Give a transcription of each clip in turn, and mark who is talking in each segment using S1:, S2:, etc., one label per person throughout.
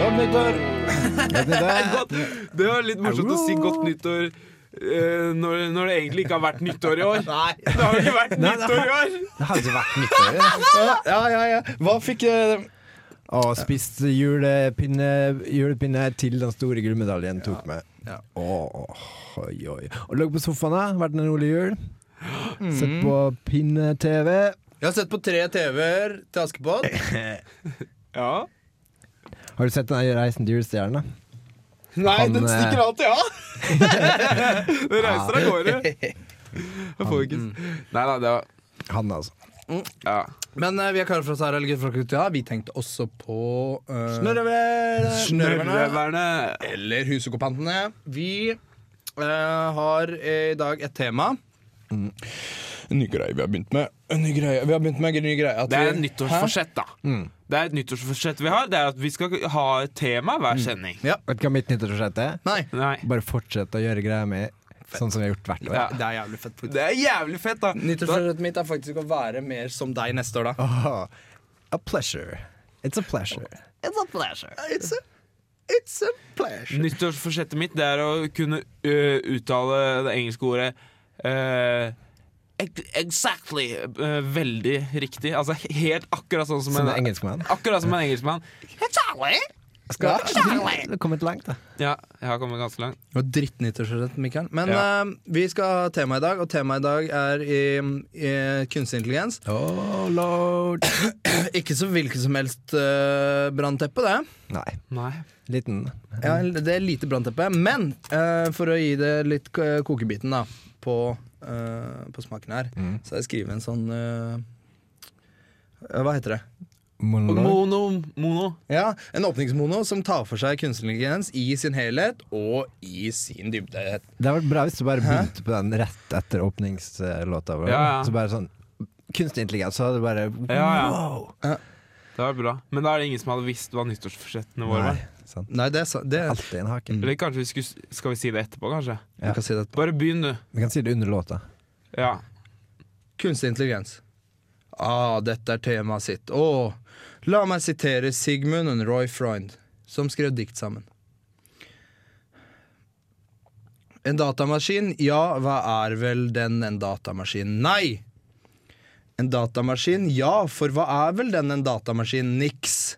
S1: Godt nyttår!
S2: Godt. Det var litt morsomt å si godt nyttår eh, når, når det egentlig ikke har vært nyttår i år. Det har jo ikke vært
S3: Nei, det
S2: nyttår i år!
S3: Det hadde ikke vært nyttår. det.
S1: Ja, ja, ja. Hva fikk eh,
S3: Og spist julepinne, julepinne til den store gullmedaljen tok med. Åh, oi, oi. Og lå på sofaen, da. Vært en rolig jul. Sett på pinne-TV.
S1: mm. Jeg har sett på tre TV-er til Askepott.
S2: Ja.
S3: Har du sett den her Reisen til julestjernen? da?
S2: Nei,
S3: Han,
S2: den stikker
S3: eh,
S2: alltid av! den reiser av gårde. Jeg får ikke Nei, nei, det var
S3: Han, altså.
S2: ja.
S1: Men eh, vi er karer fra Sahara eller gutter fra Kutia. Vi tenkte også på eh, Snørreverne.
S2: Snørreverne.
S1: Eller Husokkupantene. Vi eh, har eh, i dag et tema. Mm. En ny greie vi har begynt med. En ny greie. Vi har begynt med en ny greie. at
S2: Det er
S1: vi-
S2: et nyttårsforsett, da.
S3: Mm.
S2: Det er et nyttårsforsett vi har. Det er at vi skal ha et tema
S3: Mm.
S2: hver sending.
S3: Vet du hva mitt nyttårsforsett er?
S1: Hæ? Nei.
S2: Nei.
S3: Bare fortsette å gjøre greia mi sånn som vi har gjort hvert år.
S2: Ja.
S1: Det er jævlig fett. faktisk.
S2: Det er jævlig fett, da. da.
S1: Nyttårsforsettet mitt er faktisk å være mer som deg neste år, da.
S3: Åh, a pleasure. It's a pleasure.
S1: It's a, it's a pleasure.
S2: Nyttårsforsettet mitt det er å kunne ø, uttale det engelske ordet ø, ex- Exactly ø, veldig riktig. Altså helt akkurat sånn som,
S3: Som en
S2: en
S3: engelskmann.
S2: Akkurat som en engelskmann. Exactly.
S3: Skal du kommet langt, da?
S2: Ja, jeg har kommet ganske langt.
S1: Det var drittnyttårsforsett, Mikael. Men
S2: Ja.
S1: eh, vi skal ha tema i dag, og temaet i dag er i, i kunstig intelligens.
S3: Oh lord.
S1: Ikke så hvilket som helst uh, brannteppe, det.
S3: Nei.
S2: Nei.
S3: Liten.
S1: Ja, det er lite brannteppe. Men eh, for å gi det litt k- eh, kokebiten da på, eh, på smaken her, så har jeg skrevet en sånn eh, Hva heter det?
S3: Monolog.
S2: Mono. Mono.
S1: Ja, En åpningsmono som tar for seg kunstig intelligens i sin helhet og i sin dybde.
S3: Det hadde vært bra hvis du bare begynte på den rett etter åpningslåta. vår.
S2: Ja, ja.
S3: Så bare sånn Kunstig intelligens, så hadde du bare
S2: ja.
S3: wow!
S2: Det var bra. Men da er det ingen som hadde visst hva nyttårsforsettene våre
S3: Nei,
S2: var. Mm.
S3: sant.
S1: Nei, det er sant. Det,
S3: Alltid en hake.
S2: Eller kanskje vi skulle, skal vi si det etterpå, kanskje?
S1: jeg kan si det.
S2: Bare begynn, du.
S3: Vi kan si det under låta.
S2: Ja.
S1: Kunstig intelligens. Ah, dette er temaet sitt. Åh, la meg sitere Sigmund og Roy Freund, som skrev dikt sammen. En datamaskin? Ja, hva er vel den en datamaskin? Nei! En datamaskin? Ja, for hva er vel den en datamaskin? Niks!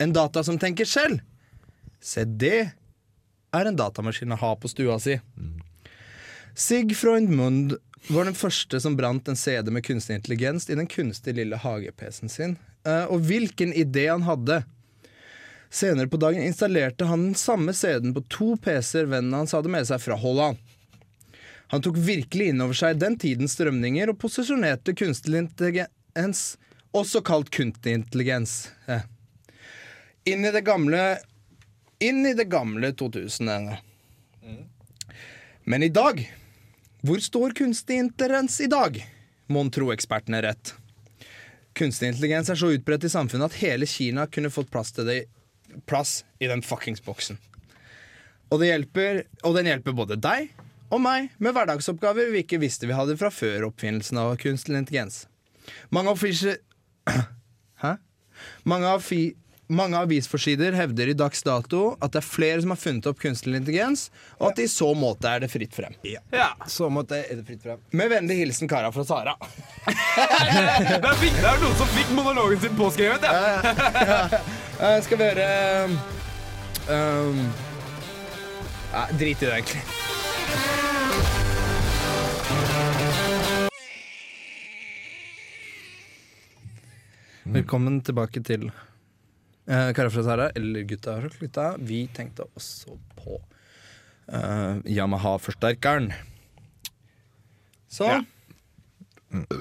S1: En data som tenker selv! Se, det er en datamaskin å ha på stua si. Sigfroid Mund var den første som brant en CD med kunstig intelligens i den kunstige lille hage-PC-en sin. Eh, Og hvilken idé han hadde! Senere på dagen installerte han den samme CD-en på to PC-er vennen hans hadde med seg fra Holland. Han tok virkelig inn over seg den tidens strømninger og posisjonerte kunstig intelligens, også kalt kunstig intelligens, eh, inn i det gamle Inn i det gamle 2000-ene. Men i dag Hvor står kunstig intelligens i dag? Mon tro ekspertene rett. Kunstig intelligens er så utbredt i samfunnet at hele Kina kunne fått plass til det Plass i den fuckings boksen. Og, det hjelper, og den hjelper både deg og meg med hverdagsoppgaver vi ikke visste vi hadde fra før oppfinnelsen av kunstig intelligens. Mange offisier... Hæ? Mange, av fi, mange avisforsider hevder i dags dato at det er flere som har funnet opp kunstig intelligens, og at i så måte er det fritt frem.
S2: ja.
S3: Så måtte er det fritt frem.
S1: Med vennlig hilsen Kara fra Sara.
S2: Der fikk, det er noen som fikk monologen sin påskrevet, ja.
S1: Eh, skal vi høre um, Nei, eh, drit i det, egentlig. Velkommen tilbake til eh, Kara fra Sara, eller Gutta fra Klutta. Vi tenkte også på eh, Yamaha-forsterkeren. Sånn. Mm.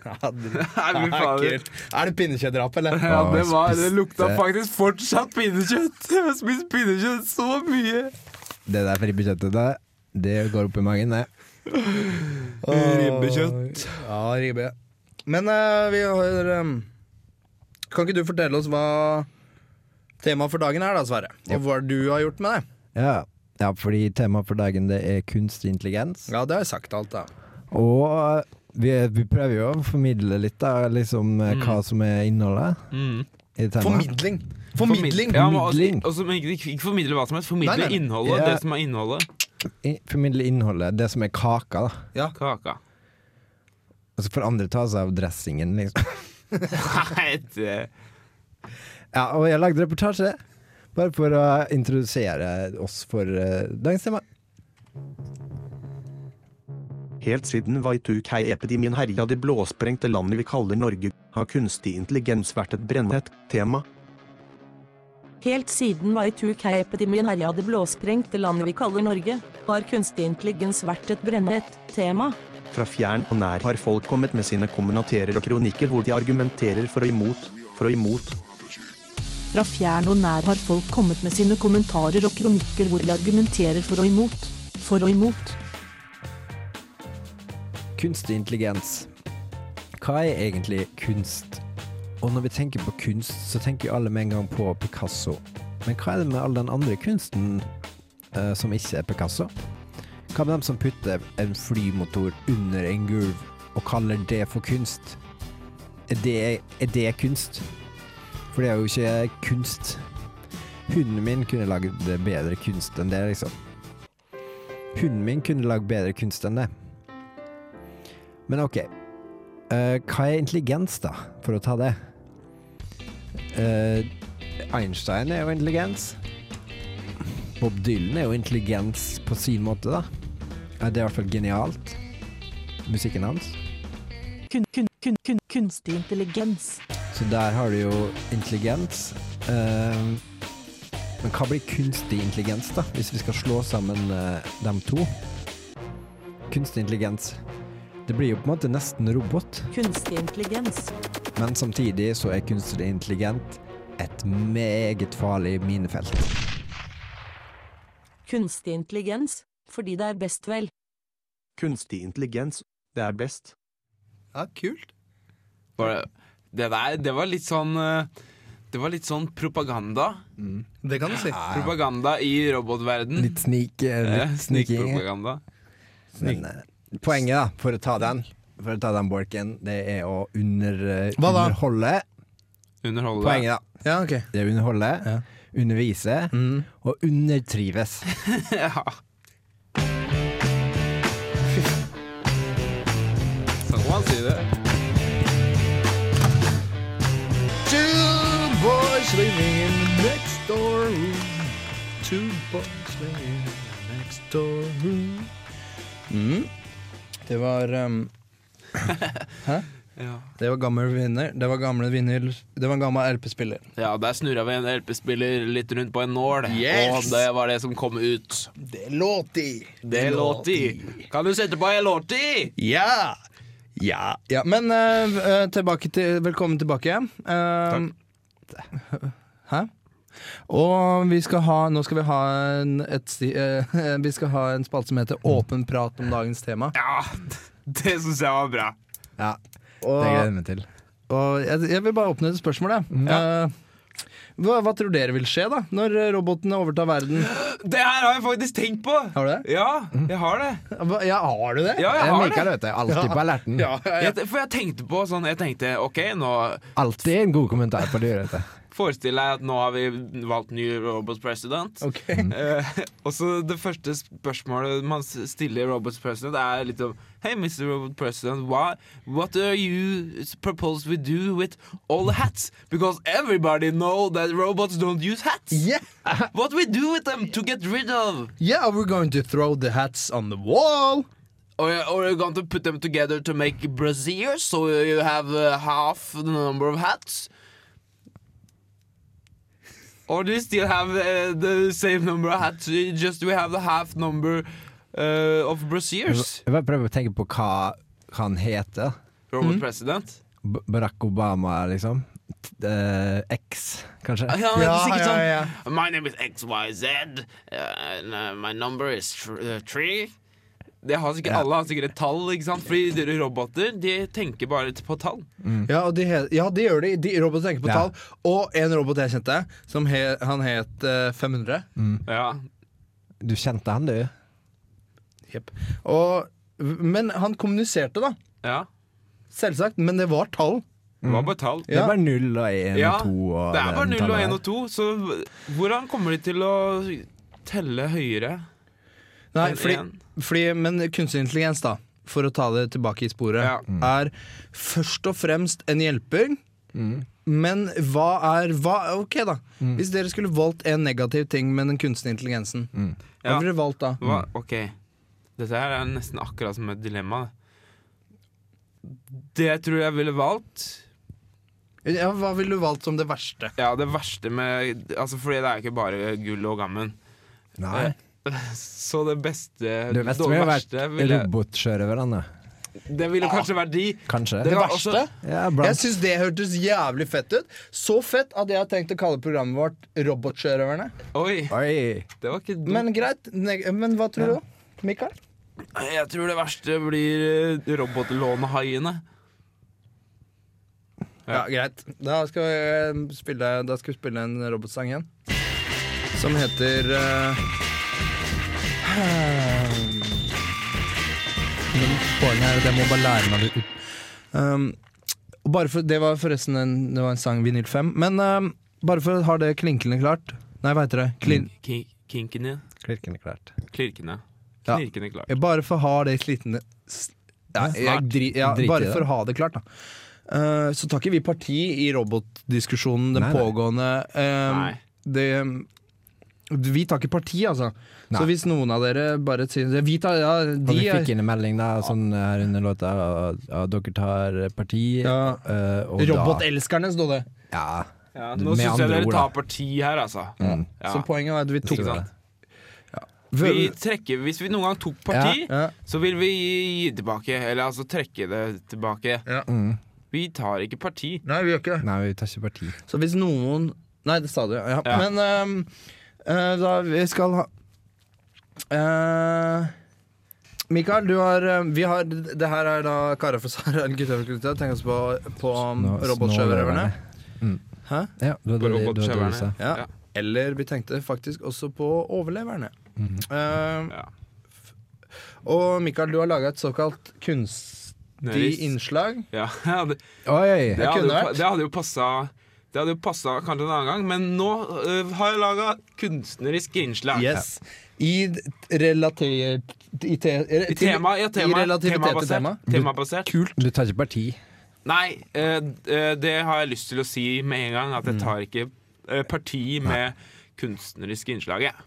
S1: Ja, det
S2: Nei, fy
S1: er
S2: fader.
S1: ekkelt. Er det pinnekjøttrapp, eller?
S2: Ja,
S3: Å,
S2: det, var, det
S3: spiste-
S2: lukta faktisk fortsatt pinnekjøtt. Jeg har spist pinnekjøtt så mye.
S3: Det der fribudsjettet der, det går opp i magen, det.
S2: Ribbekjøtt.
S1: Ja, ribbe. ehm, Men eh, vi har eh, Kan ikke du fortelle oss hva Temaet for dagen er da, Sverre. Og hva du har gjort med det.
S3: Ja. ja, fordi temaet for dagen det er kunstig intelligens.
S1: Ja, det har jeg sagt alt, da.
S3: Og eh, vi, vi prøver jo å formidle litt da, liksom eh, hva som er innholdet
S2: Mm.
S3: i temaet.
S1: Formidling! Formidling!
S2: Ja, men, altså,
S3: Formidling.
S2: altså, men ikke, ikke formidle hva som helst. Formidle
S1: Nei, nei, nei.
S2: innholdet.
S3: Ja.
S2: Det som er innholdet.
S3: I- Formidle innholdet, det som er kaka, da.
S2: Kaka.
S3: Og så får andre ta seg av dressingen, liksom.
S2: Nei, det
S3: Ja, og jeg lagde reportasje, bare for å introdusere oss for eh, dagens tema.
S4: Helt siden Waitukei-epidemien herja det blåsprengte landet vi kaller Norge, har kunstig intelligens vært et brennhett tema.
S5: Helt siden Y2K-epidemien herja det blåsprengte landet vi kaller Norge, har kunstig intelligens vært et brennhett tema.
S4: Fra fjern og nær har folk kommet med sine kommentarer og kronikker hvor de argumenterer for og imot, for og imot.
S5: Fra fjern og nær har folk kommet med sine kommentarer og kronikker hvor de argumenterer for og imot. For og imot.
S3: Kunstig intelligens. Hva er egentlig kunst? Og når vi tenker på kunst, så tenker jo alle med en gang på Picasso. Men hva er det med all den andre kunsten eh, som ikke er Picasso? Hva med dem som putter en flymotor under en gulv og kaller det for kunst? Er det, er det kunst? For det er jo ikke kunst. Hunden min kunne lagd bedre kunst enn det, liksom. Hunden min kunne lagd bedre kunst enn det. Men ok. Eh, hva er intelligens, da, for å ta det? Eh, Einstein er jo intelligens. Bob Dylan er jo intelligens på sin måte, da. Eh, Det er i hvert fall genialt. Musikken hans.
S5: Kun, kun, kun, kun, kunstig intelligens.
S3: Så der har du jo intelligens. Eh, men hva blir kunstig intelligens, da, hvis vi skal slå sammen eh, dem to? Kunstig intelligens. Det blir jo på en måte nesten robot.
S5: Kunstig intelligens.
S3: Men samtidig så er kunstig intelligent et meget farlig minefelt.
S5: Kunstig intelligens. Fordi det er best, vel.
S4: Kunstig intelligens, det er best.
S1: Ja, kult.
S2: var det, det der Det var litt sånn eh, Det var litt sånn propaganda.
S1: Det kan du si.
S2: Propaganda i robotverden.
S3: Litt sneak, eh,
S2: Eh,
S3: litt sneaking.
S2: Snikpropaganda.
S3: Men eh, poenget, da, for å ta den, for å ta den bolken, det er å under, eh,
S1: Hva da?
S3: underholde.
S2: Underholde.
S3: Poenget, da.
S1: Ja, ok.
S3: Det er å underholde,
S1: Ja.
S3: undervise og undertrives.
S2: ja. Sånn kan man si det.
S1: Two boys living in the next door room. Two boys living in the next door room. Mm. Det var um,
S2: Ja.
S1: Det var gammel vinner. Det var gamle vinyl Det var en gammel LP-spiller.
S2: ja, der snurra vi en LP-spiller litt rundt på en nål,
S1: Yes!
S2: og det var det som kom ut.
S1: Det låt i!
S2: Det låt i. Kan du sette på ei låt i?
S1: Ja! Ja. ja. Men eh, eh, tilbake til Velkommen tilbake. Eh, Hæ? Og vi skal ha Nå skal vi ha en, et, sti- eh, Vi skal ha en spalte som heter Åpen prat om dagens tema.
S2: Ja, det syns jeg var bra.
S3: Ja, det gleder
S1: Og,
S3: jeg meg til.
S1: og jeg, jeg vil bare åpne et spørsmål, jeg. Eh, hva, hva tror dere vil skje da når robotene overtar verden?
S2: Det her har jeg faktisk tenkt på.
S1: Har du det?
S2: Ja, jeg har det.
S1: Hva- Ja, har du det?
S2: Ja, jeg
S3: Jeg
S2: har
S3: liker
S2: det.
S3: det, vet du. Alltid på alerten.
S1: Ja, ja, ja.
S2: Jeg, for jeg tenkte på sånn Jeg tenkte OK, nå
S3: Alltid en god kommentar på det, vet du.
S2: forestiller jeg at nå har vi valgt ny Robots President.
S1: Ok.
S2: Eh, og så det første spørsmålet man s- stiller Robots President, er litt om Hei, Mr. Robot President, why, what do you s- propose we do with all the hats? Because everybody know that robots don't use hats.
S1: Yeah.
S2: What we do with them to get rid of?
S1: yeah, we're going to throw the hats on the wall.
S2: Or, or Oh, you're going to put them together to make brassiers, so you have uh, half the number of hats? Or do you still have uh, the same number of hats, you just we have the half number uh, of brassiers?
S3: Jeg bare prøver å tenke på hva hva han heter.
S2: Robert President?
S3: B Barack Obama, liksom. T- eh, X, kanskje.
S2: Ja,
S3: Ja,
S2: det er
S1: Ja,
S2: sikkert
S1: ja,
S2: sånn.
S1: ja.
S2: My name is XYZ, uh, and uh, my number is tr uh, three. Det har sikkert Alle har sikkert et tall, ikke sant? Fordi dere roboter de tenker bare på tall.
S1: Ja, og de, he- ja, de gjør det. De roboter tenker på
S3: Ja.
S1: tall. Og en robot jeg kjente, som he, han het eh, 500.
S2: Ja.
S3: Du kjente han, du?
S1: Jep. Og, men han kommuniserte, da.
S2: ja.
S1: Selvsagt. Men det var tall.
S2: Det var bare tall.
S3: Det
S1: Ja.
S3: er bare null og én
S2: Ja,
S3: og to. Og
S2: det er bare
S3: den
S2: 0 og
S3: tallet
S2: 1 og
S3: her.
S2: 2, så hvordan kommer de til å telle høyere?
S1: Nei,
S2: Men
S1: fordi,
S2: igjen-
S1: fordi, men kunstig intelligens, da, for å ta det tilbake i sporet,
S2: Ja.
S1: er først og fremst en hjelper. Men hva er hva, Ok, da. Hvis dere skulle valgt en negativ ting med den kunstige intelligensen, hva
S2: Ja.
S1: ville dere valgt da?
S2: Hva?
S3: Mm.
S2: Ok, dette her er nesten akkurat som et dilemma. Det jeg tror jeg ville valgt
S1: Ja, hva ville du valgt som det verste?
S2: Ja, det verste med Altså, fordi det er ikke bare gull og gammen.
S3: Nei,
S2: Så det beste
S3: det beste
S2: det
S3: ville vært
S2: verste ville,
S3: robotsjørøverne.
S2: Det ville kanskje vært de.
S3: Kanskje.
S1: Det
S2: var
S1: verste?
S2: også-
S3: Ja, blant
S1: Jeg syns det hørtes jævlig fett ut. Så fett at jeg har tenkt å kalle programmet vårt Robotsjørøverne.
S2: Oi,
S3: Oi!
S2: det var ikke dumt.
S1: Men greit. Neg men hva tror du, Mikael?
S2: Jeg tror det verste blir eh, robotlånehaiene.
S1: Ja, greit. Da skal, vi, eh, spille, da skal vi spille en robotsang igjen. Som heter eh, Den kåren her, det må bare lære meg det ut. Um, og bare for, det var forresten en, det var en sang Vinyl 5. Men um, bare for å ha det klinkende klart Nei, hva heter det? Klin
S2: Ki- Kinkene.
S3: Klirkende klart.
S2: Klirkene.
S1: Ja.
S2: Knirkene klart.
S1: Ja, Bare for å ha det slitne s- ja,
S3: Snart.
S1: jeg, dri, ja,
S3: Drit i
S1: Bare
S3: det.
S1: for å ha det klart, da. Eh, så tar ikke vi parti i robotdiskusjonen, den
S3: Nei, nei.
S1: pågående eh,
S2: Nei.
S1: det, Vi tar ikke parti, altså. Så
S3: Nei.
S1: hvis noen av dere bare sier Vi tar ja,
S3: Og
S1: de
S3: vi fikk
S1: er
S3: inn en melding da, sånn her under låta at at dere tar parti.
S1: Ja.
S3: eh, og da,
S1: Robotelskerne, sto det.
S3: ja,
S2: Ja,
S3: Med
S2: nå syns jeg
S3: andre
S2: dere
S3: ord,
S2: tar
S3: da.
S2: parti her, altså. Ja.
S1: Mm. Så poenget var at vi tok
S2: Ikke
S1: det.
S2: sant?
S1: Vi,
S2: Vi trekker, hvis vi noen gang tok parti,
S1: ja.
S2: så vil vi gi, gi tilbake. Eller altså trekke det tilbake.
S1: Ja.
S3: Mm.
S2: Vi tar ikke parti.
S1: Nei, vi gjør ikke det.
S3: Nei, vi tar ikke parti.
S1: Så hvis noen Nei, det sa du, ja.
S2: Ja.
S1: Men ehm, eh, da vi skal ha Eh, Mikael, du har eh, Vi har Det her er da Kara fra Sara eller Gutta fra Gutta. Tenk oss på, på um,
S3: Nå- Mm.
S1: robotsjøverne. Hæ?
S3: Ja, du hadde det du hadde det du sa.
S1: Ja.
S2: Ja.
S1: Eller vi tenkte faktisk også på overleverne.
S2: Mhm.
S1: Eh,
S2: Ja.
S1: og Mikael, du har laga et såkalt kunstig
S2: Nerdist.
S1: innslag.
S2: Ja, ja, det,
S3: Oi!
S2: det, hadde
S1: kunne
S2: jo, pa-
S1: vært.
S2: det hadde jo passa Det hadde jo passa kanskje en annen gang, men nå øh, har jeg laga kunstnerisk innslag.
S1: Yes. I relatert I, te,
S2: I tema, ja, tema,
S1: I relativitet til tema.
S2: temabasert. temabasert.
S3: Kult. Du tar ikke parti.
S2: Nei, eh, d- eh, det har jeg lyst til å si med en gang, at jeg tar ikke eh, parti med kunstneriske innslaget.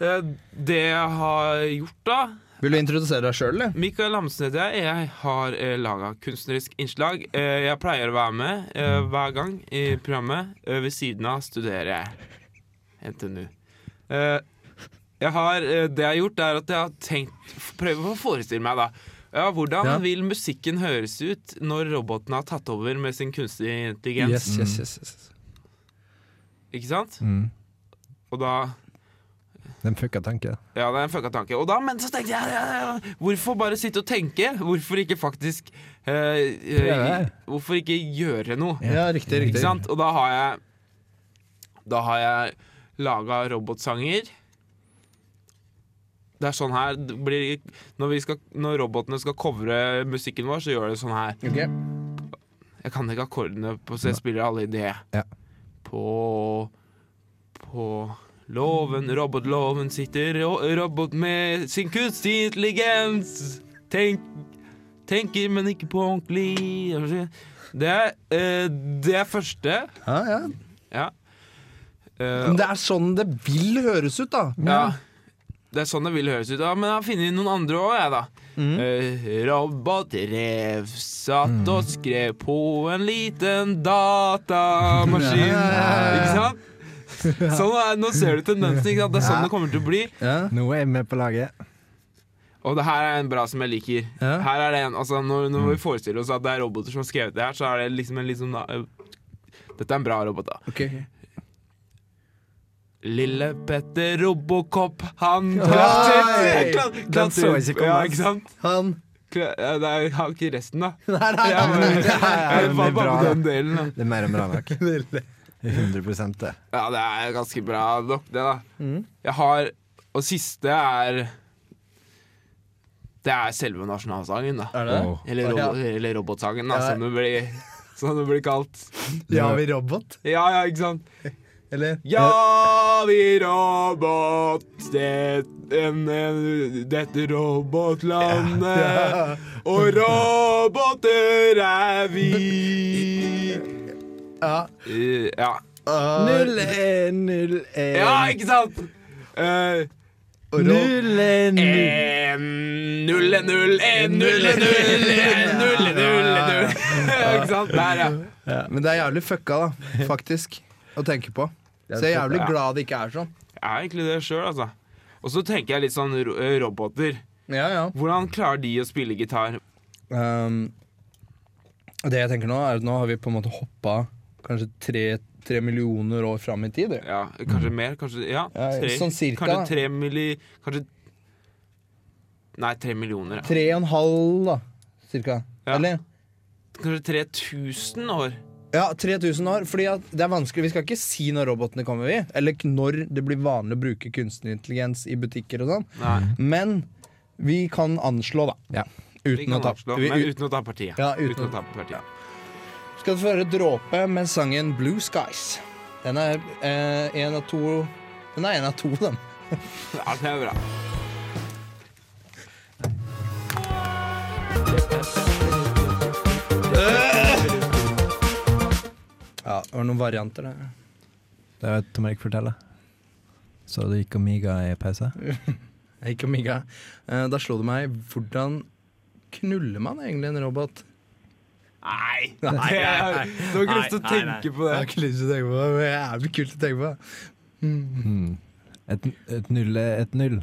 S2: Eh, det jeg har gjort da
S1: Vil du introdusere deg sjøl, eller?
S2: Mikael Amsen heter jeg. Jeg har eh, laga kunstnerisk innslag. Eh, jeg pleier å være med eh, hver gang i programmet. Eh, ved siden av studerer jeg NTNU. Eh, jeg har, eh, det jeg har gjort, er at jeg har tenkt Prøver å forestille meg, da. Ja, Hvordan
S1: Ja.
S2: vil musikken høres ut når roboten har tatt over med sin kunstige intelligens?
S1: yes, yes, yes.
S2: Ikke sant?
S3: Mm.
S2: Og da
S3: Den fucka tanken.
S2: Ja, det er en fucka tanke. Og da, men så tenkte jeg ja, ja, ja, Hvorfor bare sitte og tenke? Hvorfor ikke faktisk eh, eh,
S3: Prøve.
S2: Hvorfor ikke gjøre noe?
S1: Ja, riktig, riktig.
S2: Ikke sant? Og da har jeg Da har jeg laga robotsanger. Det er sånn her det blir, når, vi skal, når robotene skal covre musikken vår, så gjør det sånn her.
S1: Ok.
S2: Jeg kan ikke akkordene, på, så jeg spiller alle i det.
S3: Ja.
S2: På På låven, robotloven, sitter ro robot med sin kunstig intelligens. Tenk, tenker, men ikke på ordentlig. Det er eh, det første.
S1: Ja, ja.
S2: Ja. Eh,
S1: Men det er sånn det vil høres ut, da.
S2: ja. Det er sånn det vil høres ut. Ja, men jeg har funnet noen andre òg, jeg, da. Eh, robot rev satt og skrev på en liten datamaskin. Ikke sant? Sånn er, nå ser du tendensen. Ikke sant? Det er sånn det kommer til å bli.
S1: Ja.
S3: Nå er jeg med på laget.
S2: Og det her er en bra som jeg liker.
S1: Ja.
S2: Her er det en, altså når, når vi forestiller oss at det er roboter som har skrevet det her, så er det liksom en litt sånn da, eh, Dette er en bra robot, da.
S1: Ok.
S2: Lille Petter Robocop, han
S1: Oi!
S2: klatret klat-
S3: Den
S2: klatret-
S3: så jeg ikke komme,
S2: Ja,
S3: ass.
S2: ikke sant?
S1: Han
S2: Kla- ja, eh, det er- Jeg har ikke resten, da.
S3: Nei, nei,
S2: Jeg
S3: nei, nei,
S2: bare-
S3: det er-
S2: jeg falt
S3: bra,
S2: bare på
S3: da.
S2: den delen, da.
S3: Det er mer enn bra nok. 100 det.
S2: Ja, det er ganske bra nok, det, da.
S3: Mm.
S2: Jeg har Og siste er Det er selve nasjonalsangen, da.
S1: Er det det?
S3: Wow.
S2: Eller,
S1: Å, ja.
S2: robo, eller robotsangen, da,
S1: Ja.
S2: som det blir, som det blir kalt.
S1: Ja, vi robot?
S2: Ja, ja, ikke sant?
S1: Eller?
S2: Ja, vi robot det, en, en, Dette robotlandet Og roboter er vi
S1: Ja.
S2: Eh, Ja,
S1: Ah,
S3: Null en, null en.
S2: ja ikke sant? Eh,
S1: og ro-
S3: Null en, null
S2: en, null, en, null, en, null, en, null, en, null, en, null, en, null. Ikke sant? Der, ja.
S1: Men det er jævlig fucka, da, faktisk, å tenke på. Så jeg er jævlig
S2: fucka.
S1: glad det ikke er sånn.
S2: Jeg er egentlig det sjøl, altså. Og så tenker jeg litt sånn ro roboter.
S1: Ja, ja.
S2: Hvordan klarer de å spille gitar?
S1: Um, det jeg tenker nå, er at nå har vi på en måte hoppa kanskje tre, tre millioner år fram i tid.
S2: Ja, kanskje mer? Kanskje ja,
S1: Mm. Ja,
S2: tre,
S1: sånn cirka, da.
S2: Kanskje tre milli... Kanskje Nei, tre millioner. Ja.
S1: Tre og en halv, da, cirka.
S2: Ja.
S1: Eller?
S2: Kanskje 3000 år.
S1: Ja, 3000 år. Fordi at det er vanskelig Vi skal ikke si når robotene kommer, vi. Eller k- når det blir vanlig å bruke kunstig intelligens i butikker og sånn.
S2: Nei,
S1: Men vi kan anslå, da.
S3: Ja.
S2: vi
S1: Uten å
S2: kan
S1: ta
S2: avslå,
S1: vi-
S2: men
S1: ut-
S2: uten å ta partiet.
S1: Ja, uten
S2: uten
S1: å-
S2: å ta partiet.
S1: Skal du få høre Dråpe med sangen Blue Skies. Den er eh, en av to Den er en av to, den.
S2: Ja, det er bra.
S1: Ja, det var noen varianter der.
S3: Det er Tom Erik forteller. Så du gikk Amiga i pause?
S1: Jeg gikk omega. Eh, Da slo det meg hvordan knuller man egentlig en robot?
S2: Nei! nei, nei, nei. Du har ikke lyst til å tenke på det.
S1: ikke lyst til å tenke på det, men det er jævlig kult å tenke på. det.
S3: Mm. Et, et null er et null.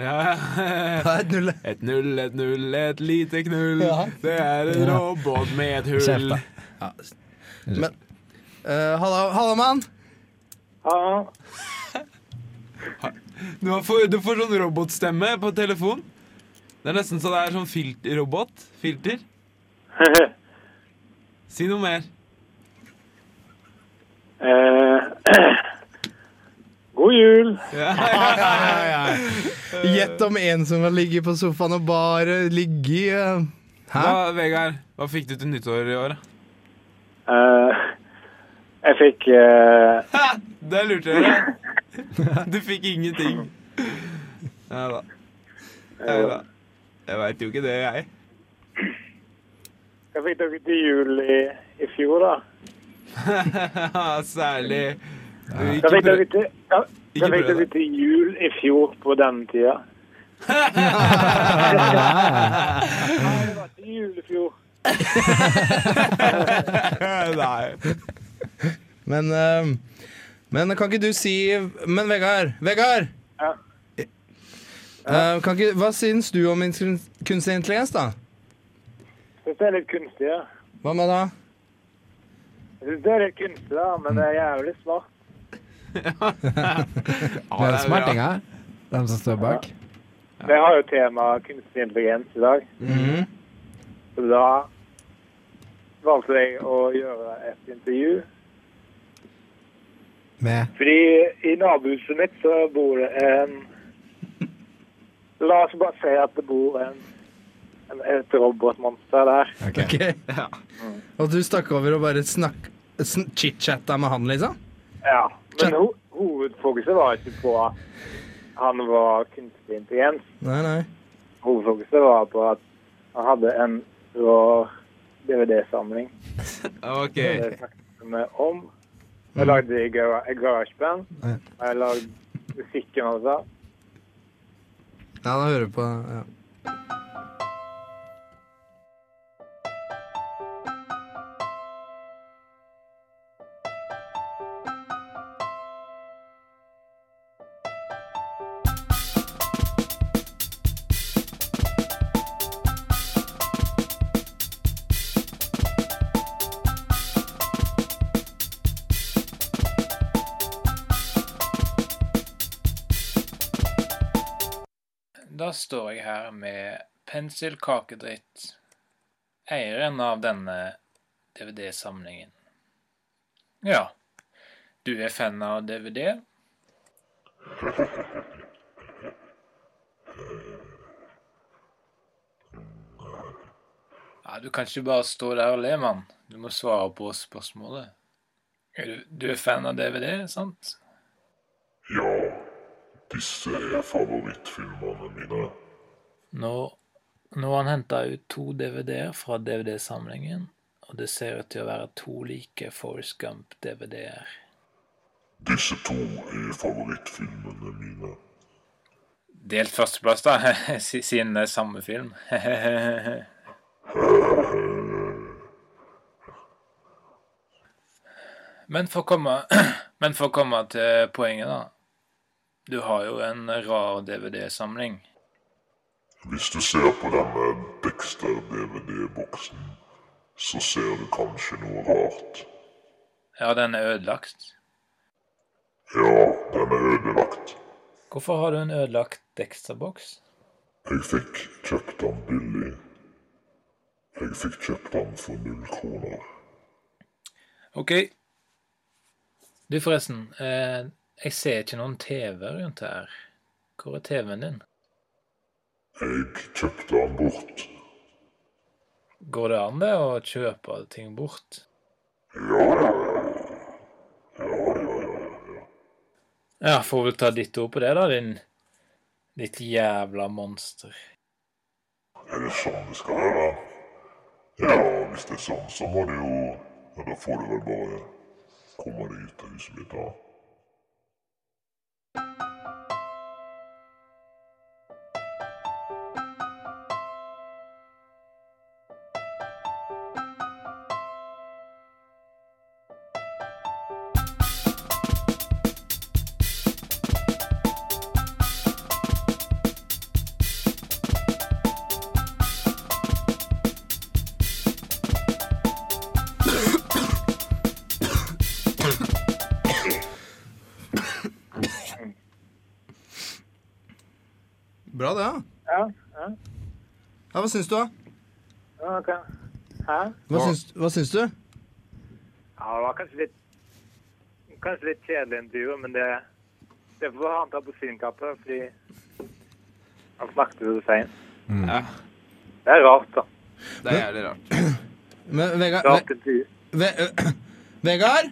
S2: Ja.
S1: Det er et null.
S2: Et null, et null, et lite knull.
S1: Ja.
S2: Det er en
S3: Ja.
S2: robot med et
S3: Kjeft,
S2: hull.
S3: da.
S1: Men eh, Halla, halla, mann!
S2: Du, har får- du får sånn robotstemme på telefon. Det er nesten så det er sånn filter, robot. Filter. Si noe mer.
S6: God jul!
S1: Gjett om en som har ligget på sofaen og bare ligget i eh, Hæ?
S2: Hva, Vegard, hva fikk du til nyttår i år? da?
S6: Eh, jeg fikk eh,
S2: Ha! Det lurte jeg deg. Du fikk ingenting. Ja da. Ja, da. Jeg veit jo ikke det, jeg.
S6: Hva fikk dere til jul i, i fjor, da?
S2: Særlig
S6: Hva
S2: ikke
S6: fikk dere
S2: prøv.
S6: til,
S2: Ikke
S6: ja, hva fikk
S2: prøv
S6: dere
S2: det.
S6: til jul i fjor på denne tida? Nei, det var ikke jul i fjor.
S2: Nei.
S1: Men, eh, men kan ikke du si Men Vegard! Vegard!
S6: Ja.
S1: Eh, kan ikke, hva syns du om ins- kunstig intelligens, da?
S6: Jeg syns det er litt kunstig, ja.
S1: Hva med da?
S6: Jeg synes det er litt kunstig, da, men det er jævlig smart.
S3: Det
S2: Ja,
S3: er
S2: det er bra.
S3: smartinga, de som står bak.
S6: Det har jo temaet kunstig intelligens i dag.
S2: Mhm.
S6: Så da valgte jeg å gjøre et intervju.
S3: Med
S6: Fordi i nabohuset mitt så bor det en La oss bare si at det bor en, en et robotmonster der.
S3: Ok.
S2: Ja.
S1: Og du stakk over og bare snakk sn- chit-chatta med han, liksom?
S6: Ja. Men ho hovedfokuset var ikke på at han var kunstig intelligens.
S1: Nei, nei.
S6: Hovedfokuset var på at han hadde en rår DVD-samling.
S2: OK.
S6: Det snakket vi om. Jeg lagde i gara- i GarageBand. Og jeg lagde musikken også.
S1: Ja, da hører du på ja.
S7: Da står jeg her med Penselkakedritt, eieren av denne DVD-samlingen. Ja, du er fan av DVD? Ja, du kan ikke bare stå der og le, mann. Du må svare på spørsmålet. Er Du, du er fan av DVD, sant?
S8: Ja, disse er favorittfilmene mine.
S7: Nå, nå har han henta ut to DVD-er fra DVD-samlingen, og det ser ut til å være to like Forrest Gump-DVD-er.
S8: Disse to er favorittfilmene mine.
S7: Delt førsteplass, da, siden det er samme film. Men for, å komme, men for å komme til poenget, da. Du har jo en rar DVD-samling.
S8: Hvis du ser på denne Dexter-DVD-boksen, så ser du kanskje noe rart.
S7: Ja, den er ødelagt.
S8: Ja, den er ødelagt.
S7: Hvorfor har du en ødelagt Dexter-boks?
S8: Jeg fikk kjøpt den billig. Jeg fikk kjøpt den for null kroner.
S7: OK. Du, forresten. Eh, jeg ser ikke noen TV rundt her. Hvor er TV-en din?
S8: Jeg kjøpte den bort.
S7: Går det an det å kjøpe ting bort? Ja, får vel ta ditt ord på det, da, din Ditt jævla monster.
S8: Er det sånn det skal være? Ja, hvis det er sånn, så må det jo Ja, da får du vel bare komme deg ut av huset mitt, da.
S1: Bra, det. ja.
S6: Ja, ja,
S1: ja hva syns du, da?
S6: ja, ok. Hæ?
S1: Hva syns, hva syns du?
S6: Ja, det var kanskje litt Kanskje litt kjedelig intervju, men det Det får han ta på sin kappe, fordi han snakket jo det seint.
S2: Ja,
S6: Det er rart, da.
S2: det er jævlig rart.
S1: Men, Vegard,
S6: Rart intervju.
S1: Ve Ve Vegard?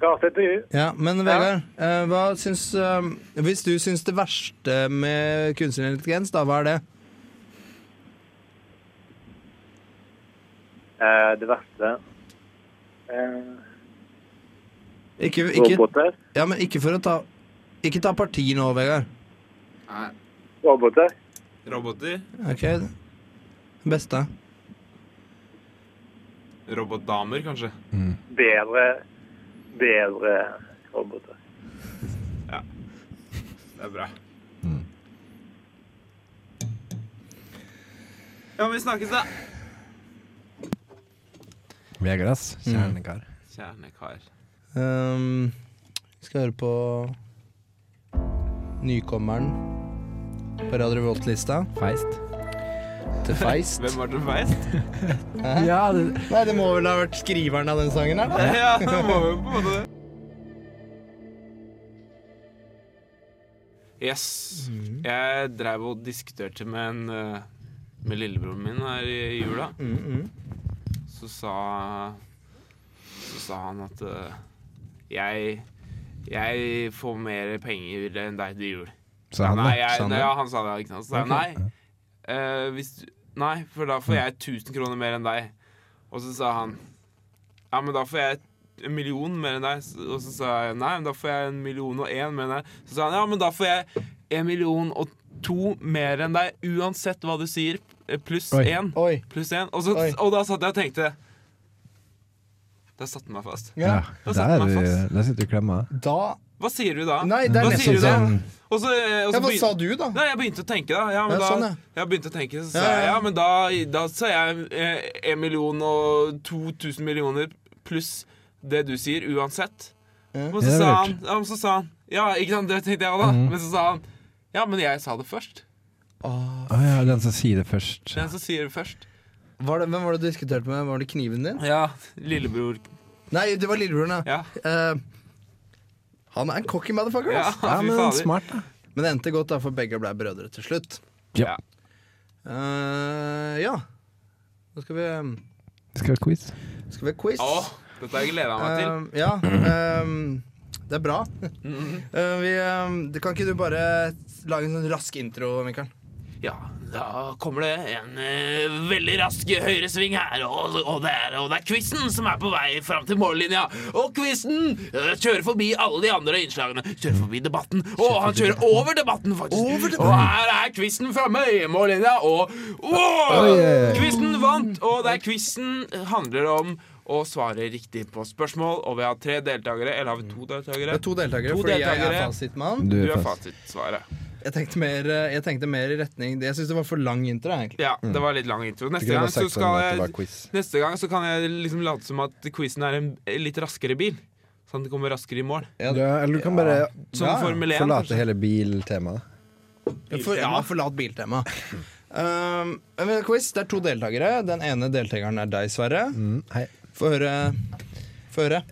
S6: Rart intervju.
S1: Ja, men Vegard, eh, hva syns eh, Hvis du syns det verste med kunstig intelligens, da, hva er det?
S6: Eh, det verste eh,
S1: Ikke, ikke,
S6: Roboter.
S1: ja, men ikke for å ta Ikke ta parti nå, Vegard.
S2: Nei.
S6: Roboter.
S2: Roboter?
S1: OK? Beste.
S2: Robotdamer, kanskje?
S6: Bedre Bedre roboter.
S2: Det er bra. Ja, men vi snakkes, da.
S3: Vegard, ass. Kjernekar.
S2: Kjernekar.
S1: Um, vi skal høre på nykommeren på Radio Revolt-lista
S3: Feist.
S1: til Feist.
S2: Hvem var det feist?
S3: Ja, det,
S1: Nei, det må vel ha vært skriveren av den sangen her, da.
S2: Ja, det må jo på en måte det. Yes. Jeg dreiv og diskuterte med en eh, Med lillebroren min her i jula. Så sa Så sa han at eh, jeg jeg får mer penger enn deg til jul.
S3: sa han
S2: nei,
S3: det.
S2: jeg,
S1: sa han
S2: nei,
S1: det?
S2: ja, han sa det, ikke sant? Så sa jeg, nei, eh, hvis, du- nei, for da får jeg 1000 kroner mer enn deg. Og så sa han Ja, men da får jeg en million mer enn deg. S- Og så sa jeg nei, men da får jeg en million og én mer enn deg. Så sa han ja, men da får jeg en million og to mer enn deg uansett hva du sier. eh, Pluss
S3: Oi.
S2: én.
S1: Oi.
S2: Pluss én. Og, så,
S1: Oi.
S2: og da satt jeg og tenkte Der satte han meg fast.
S1: Ja.
S3: Ja,
S2: Da satte
S3: der,
S2: meg fast.
S3: der sitter du i klemma.
S1: Da
S2: Hva sier du da?
S1: Nei, det er
S2: Hva
S1: nesten
S2: sier du da?
S3: sånn-
S2: Og så, eh, og
S1: Ja,
S2: så
S1: hva
S2: begyn-
S1: sa du, da?
S2: Nei, jeg begynte å tenke, da. Ja, men
S1: Ja,
S2: da
S1: sånn, ja.
S2: Jeg begynte å tenke, så sa
S1: Ja, ja,
S2: jeg
S1: ja.
S2: ja, men da, da sa jeg eh, en million og 2000 millioner pluss det du sier, uansett. Men
S3: Ja,
S2: så
S3: det Mhm.
S2: sa
S3: var
S2: han Ja, men så sa han Ja, ikke sant, det tenkte jeg òg, da. Men så sa han Ja, men jeg sa det først.
S3: Å ja, den som sier det først.
S2: Den som sier det først.
S1: Var det, hvem var det du diskuterte med? Var det kniven din?
S2: Ja, lillebror.
S1: Nei, det var lillebroren, ja.
S2: Ja,
S1: Eh, han er en cocky motherfucker,
S2: ja
S1: ass.
S3: Ja,
S2: fy
S3: men
S2: fader.
S3: smart, da.
S1: Men det endte godt, da, for begge ble brødre til slutt.
S3: Ja.
S1: Eh, ja. Nå skal vi
S3: Skal vi ha quiz?
S1: Skal vi ha quiz.
S2: Å, dette har jeg gleda meg til.
S1: Eh, ja. ehm, det er bra.
S2: Mhm.
S1: Eh, vi, ehm, du- kan ikke du bare lage en sånn rask intro, Mikael?
S2: Ja, da kommer det en eh, veldig rask høyresving her, og, og, det er, og det er quizen som er på vei fram til mållinja. Og quizen eh, kjører forbi alle de andre innslagene. Kjører forbi debatten. Og han kjører over debatten, faktisk. Og her er quizen framme i mållinja, og
S3: Oi,
S2: oh,
S3: eh.
S2: quizen vant! Og det er quizen handler om å svare riktig på spørsmål, og vi har tre deltakere. Eller har vi to deltakere?
S1: Det er to deltakere,
S2: To
S1: fordi jeg er
S2: deltakere.
S1: fasitmann.
S2: Du er fasitsvaret.
S1: Jeg tenkte mer, eh, jeg tenkte mer i retning Jeg syns det var for lang intro, egentlig.
S2: Ja, det var litt lang intro.
S3: Du
S2: Neste
S3: kunne
S2: gang
S3: bare
S2: så
S3: sagt sånn
S2: skal
S3: at det
S2: jeg
S3: var quiz.
S2: Neste gang så kan jeg liksom late som at quizen er en litt raskere bil. Sånn at den kommer raskere i mål.
S1: Ja,
S3: Ja, eller du kan bare
S2: Som
S1: Ja, ja.
S2: Formel 1.
S3: forlate
S2: kanskje.
S3: hele biltemaet.
S1: For, ja, forlat biltema. Um, men quiz, det er to deltakere. Den ene deltakeren er deg, Sverre.
S3: Mm, hei.
S1: Få høre. Få høre.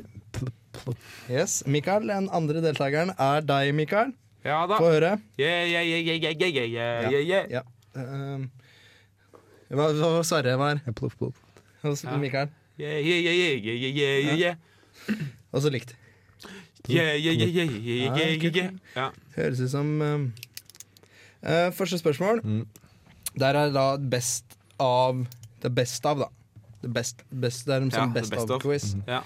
S1: Yes, Mikael. Den andre deltakeren er deg, Mikael.
S2: Ja da.
S1: Få høre.
S2: Yeah, yeah, yeah, yeah, yeah, yeah, yeah, yeah, yeah.
S1: Ja. Ehm, hva hva var Sverre var
S3: Jeg plopp, plopp.
S1: hos Mikael?
S2: Yeah, yeah, yeah, yeah, yeah, yeah, yeah, yeah, yeah.
S1: Og så likt.
S2: Yeah, yeah, yeah, yeah, yeah, yeah, yeah, yeah. Ja.
S1: Høres ut som ehm, eh, Første spørsmål.
S3: Mm.
S1: Der er da best av Det er best av, da. Det, best, best, det er en
S2: Ja,
S1: sånn
S2: det
S1: best,
S2: best of.
S3: Mm.
S1: of-quiz.
S2: Ja.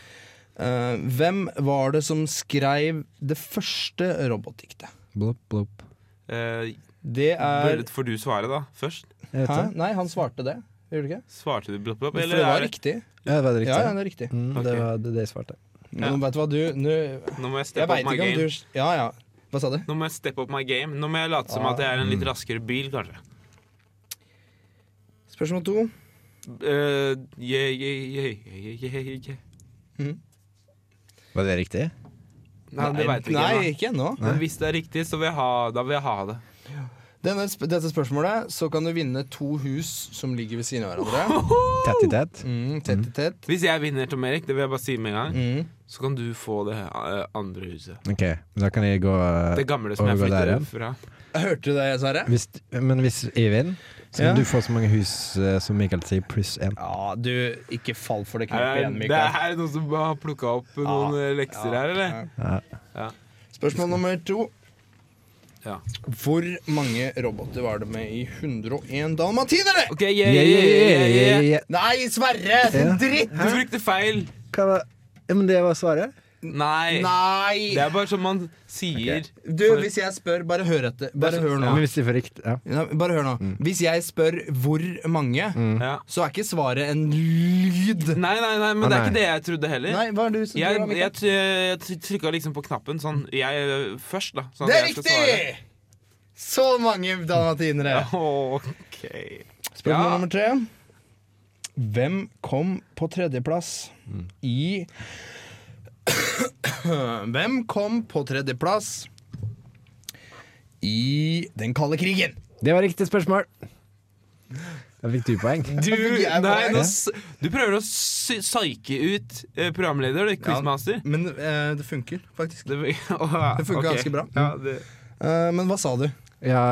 S1: Eh, hvem var det som skrev det første robotdiktet?
S3: Blopp, blopp.
S2: Eh,
S1: Det er
S2: Bør- Får du svare, da? Først?
S3: Jeg vet
S1: Hæ?
S3: det.
S1: Nei, han svarte det. Gjorde du ikke?
S2: Svarte du blopp, blopp?
S1: For
S2: Eller
S1: det var
S2: er det
S1: riktig.
S3: Ja, det var det
S1: Ja, ja,
S3: riktige.
S1: det er riktig.
S3: Mm,
S2: Ok.
S3: det var det, det jeg svarte.
S1: Nå
S2: Ja.
S1: vet du hva du Nå
S2: Nå må jeg
S1: Jeg
S2: steppe
S1: veit
S2: opp my
S1: ikke om
S2: game.
S1: du Ja, ja. Hva sa du?
S2: Nå må jeg steppe opp my game. Nå må jeg late som at jeg er en litt
S1: Ah.
S2: raskere bil, kanskje.
S1: Spørsmål to.
S2: Eh, yeah, yeah, yeah, yeah, yeah, yeah, yeah.
S3: Var det riktig?
S2: Nei, det veit vi ikke.
S1: Nei,
S2: ennå.
S1: ikke ennå.
S2: Men hvis det er riktig, så vil jeg ha, da vil jeg ha det.
S1: Denne, sp- dette spørsmålet, så kan du vinne to hus som ligger ved siden av hverandre.
S3: Tett i tett?
S1: Mm, tett i tett.
S2: Hvis jeg vinner, Tom Erik, det vil jeg bare si med en gang,
S1: Mm.
S2: så kan du få det eh, andre huset.
S3: Ok, da kan jeg gå eh,
S2: Det gamle som jeg
S3: overgå der
S2: flytter
S3: igjen.
S2: ut fra.
S1: Hørte du det, Sverre?
S3: Hvis, men hvis Eivind, så kan
S1: Ja.
S3: du få så mange hus eh, som Mikael sier, pluss én.
S1: Ja, du, ikke fall for det
S2: Er
S1: kneppet igjen,
S2: det- det
S1: Mikael.
S2: er noen som har plukka opp noen eh, lekser her, eller?
S3: Ja.
S1: Spørsmål nummer to.
S2: Ja.
S1: Hvor mange roboter var det med i 101 dalmatinere?
S2: OK, yeah, yeah, yeah, yeah, yeah.
S1: Nei, Sverre!
S3: Ja.
S1: Dritt!
S2: Du brukte feil!
S3: Hva var ja, Men det var svaret?
S2: Nei. Det
S1: Nei!
S2: er bare som man sier.
S1: Du, hvis jeg spør Bare hør etter. Bare hør nå.
S3: Men hvis de får riktig ja.
S1: Ja, Bare hør nå.
S2: Mm.
S1: Hvis jeg spør hvor mange,
S2: Ja.
S1: så er ikke svaret en lyd.
S2: Mm. Nei, nei, nei, men
S3: Ah,
S2: det er
S3: nei.
S2: ikke det jeg trodde heller.
S1: Nei, hva er det du som
S2: Jeg,
S1: tror, Mikael?
S2: jeg, t- jeg t- trykka liksom på knappen sånn jeg eh, først, da. Sånn at
S1: Det er
S2: jeg skal svare.
S1: riktig! Så mange dalmatinere.
S2: OK.
S1: Spørsmål
S2: Ja.
S1: nummer tre. Hvem kom på tredjeplass
S2: Mm.
S1: i Hvem kom på tredjeplass i den kalde krigen?
S3: Det var riktig spørsmål! Da fikk du poeng.
S2: Du,
S1: fikk Altså, jeg
S2: nei,
S1: poeng.
S2: nå, s- du prøver å sy- psyke ut eh, programleder, du, quizmaster.
S1: Men eh, det funker faktisk.
S2: Det, åh,
S1: Det funker
S2: ok.
S1: ganske bra.
S2: Ja, det,
S1: Eh, men hva sa du?
S3: Ja,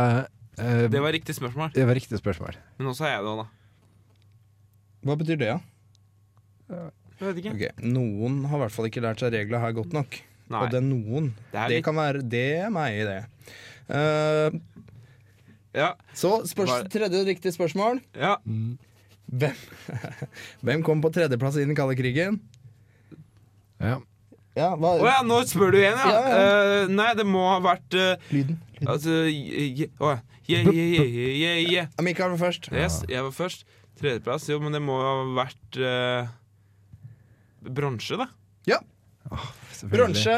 S3: eh,
S2: det var riktig spørsmål.
S3: det var riktig spørsmål.
S2: Men nå sa jeg det òg, da.
S1: Hva betyr det, da?
S2: Eh, Jeg vet ikke.
S1: Ok, Noen har i hvert fall ikke lært seg reglene her godt nok.
S2: Nei,
S1: Og det er noen.
S2: det er
S1: Det
S2: litt,
S1: kan være det er meg i det. Eh,
S2: ja,
S1: så spørs,
S2: Hva er det?
S1: tredje riktige spørsmål.
S2: ja,
S1: Hvem, hvem kom på tredjeplass i den kalde krigen?
S3: Ja.
S1: Ja, hva
S2: Å ja, nå spør du igjen, ja!
S1: Ja, ja.
S2: Eh, nei, det må ha vært eh,
S1: Lyden.
S2: Altså je- Å ja. Yeah, yeah, yeah, yeah, yeah.
S1: Ja, Mikael var først.
S2: Yes, jeg var først. Tredjeplass. Jo, men det må ha vært eh, bronse, da.
S1: Bronse.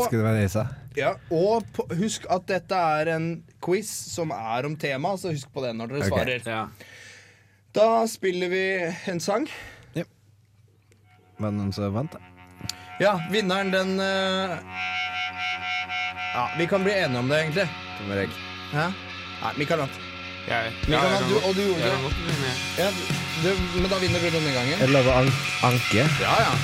S1: Og,
S3: ønske det var det jeg sa.
S1: ja, og på, husk at dette er en quiz som er om tema, så husk på det når dere
S3: Ok.
S1: svarer.
S2: Ja.
S1: Da spiller vi en sang.
S3: Var det noen som vant, da?
S1: Ja, vinneren, den eh, Ja, vi kan bli enige om det, egentlig.
S3: Det var jeg.
S1: Hæ? Nei, Mikael vant.
S2: Jeg,
S1: Mikael, du- og du gjorde det.
S2: det.
S1: Ja, det, men da vinner du denne gangen.
S3: Jeg lover an anke.
S1: Ja, ja.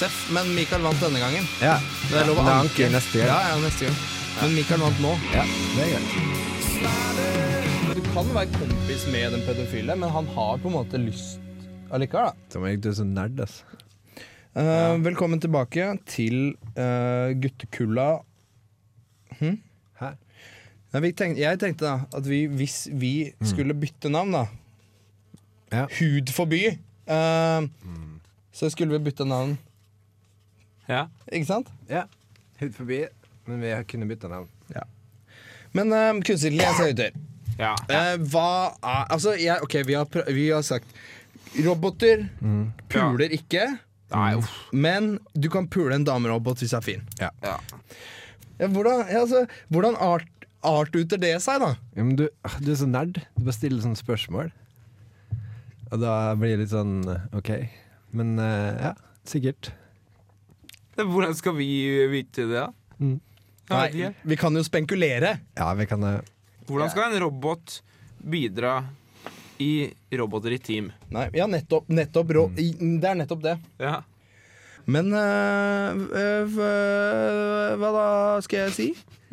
S1: Seff, men Mikael vant denne gangen.
S3: Ja.
S1: Det er lov å anke.
S3: Men anke neste
S1: Ja,
S3: gang.
S1: ja, neste gang. Men Mikael vant nå.
S3: Ja, det er greit.
S1: Du kan være kompis med den pedofile, men han har på en måte lyst allikevel, da.
S3: Tom Erik, du er så nerd, ass.
S1: Eh, Velkommen tilbake til eh, guttekulla.
S3: Hæ?
S1: Nei, vi tenk- jeg tenkte da at vi, hvis vi
S2: Mm.
S1: skulle bytte navn, da
S3: Ja.
S1: Hud forby! eh, Så skulle vi bytte navn,
S2: Ja.
S1: ikke sant?
S3: Ja. Hud forbi, men vi kunne bytta navn.
S1: Men uh, kunstig intelligens er ute.
S2: Ja.
S1: Eh, hva er Altså, jeg, OK, vi har, pr- vi har sagt Roboter puler ikke,
S2: Mm. Nei, uff.
S1: men du kan pule en damerobot hvis du er fin.
S2: Ja.
S1: Ja, hvordan ja, altså, hvordan art, artuter det seg, da?
S3: Ja, men du, ah, du er så nerd. Du bare stiller sånne spørsmål. Og da blir det litt sånn OK. Men eh, ja, sikkert.
S2: Men Hvordan skal vi vite det, da?
S3: Mm.
S2: Jeg vet ikke.
S1: vi kan jo spenkulere.
S3: Ja, vi kan eh,
S2: Hvordan skal en robot bidra i roboter i team?
S1: Nei, ja, nettopp. nettopp ro, i, det er nettopp det.
S2: Ja.
S1: Mm. Men øh, øh, øh, Hva da skal jeg si?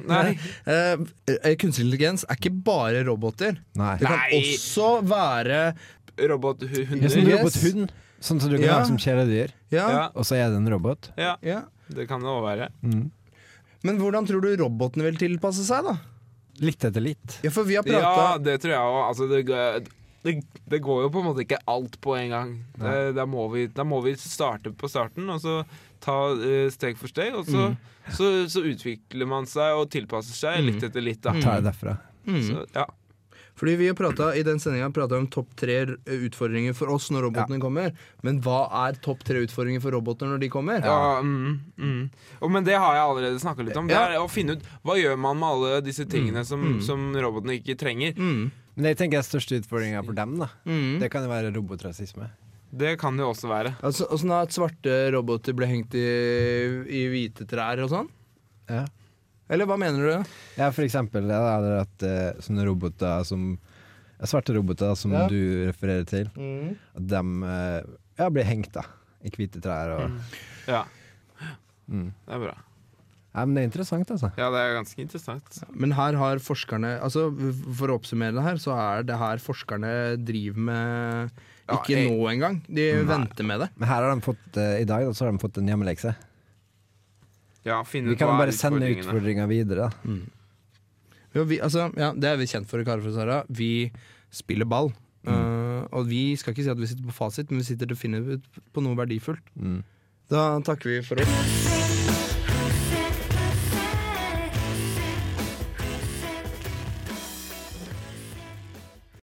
S2: Nei.
S1: Eh, eh, kunstig intelligens er ikke bare roboter.
S3: Nei.
S1: Det kan
S2: Nei.
S1: også være
S3: Ja, som
S2: Robothunder.
S3: en
S1: Yes.
S3: robothund. Sånn som du kan
S1: Ja.
S3: ha som kjæledyr.
S1: Ja,
S2: Ja.
S3: Og så er det en robot.
S2: ja,
S1: ja.
S2: det kan det òg være.
S1: Men hvordan tror du robotene vil tilpasse seg, da?
S3: Litt etter litt.
S1: Ja, for vi har
S2: Ja,
S1: prata
S2: det tror jeg òg. Altså, det, g- det, det går jo på en måte ikke alt på en gang. Det, da, må vi, da må vi starte på starten, og så ta eh, steg for steg. Og så, så, så utvikler man seg og tilpasser seg litt etter litt. Da.
S3: Tar det derfra.
S2: Så, ja.
S1: Fordi vi har pratet, I den sendinga prata vi om topp tre eh, utfordringer for oss når robotene kommer. Men hva er topp tre utfordringer for roboter når de kommer?
S2: Ja, mm, mm. Og, men det har jeg allerede snakka litt om. Det
S1: Ja.
S2: er å finne ut Hva gjør man med alle disse tingene som, som robotene ikke trenger?
S1: Mm.
S3: Men jeg tenker den største utfordringa for dem, da.
S1: Mm.
S3: Det kan jo være robotrasisme.
S2: Det kan det jo også være.
S1: Altså, og sånn at svarte roboter ble hengt i, i hvite trær og sånn?
S3: Ja.
S1: Eller hva mener du?
S3: Ja, for eksempel ja, da er det at eh, sånne roboter som ja, Svarte roboter som
S1: Ja.
S3: du refererer til, at de ja, blir hengt da i hvite trær. Og...
S2: Ja. Det er bra.
S3: Ja, men det er interessant, altså.
S2: Ja, det er ganske interessant.
S1: Men her har forskerne altså For å oppsummere det her, så er det her forskerne driver med
S2: Ja,
S1: Ikke
S2: jeg-
S1: nå engang. De venter med det.
S3: Men her har de fått, eh, i dag da, så har de fått en hjemmelekse.
S2: Ja, finne
S3: Vi
S2: ut
S3: kan
S2: hva
S3: jo
S2: er
S3: bare sende
S2: utfordringene.
S3: utfordringa videre. Da.
S1: Jo, vi, altså, ja, det er vi kjent for i Karafjordsara. Vi spiller ball.
S2: Mm.
S1: Eh, og vi skal ikke si
S2: Mm.
S1: at vi sitter på fasit, men vi sitter definitivt på noe verdifullt. Da takker vi for oss.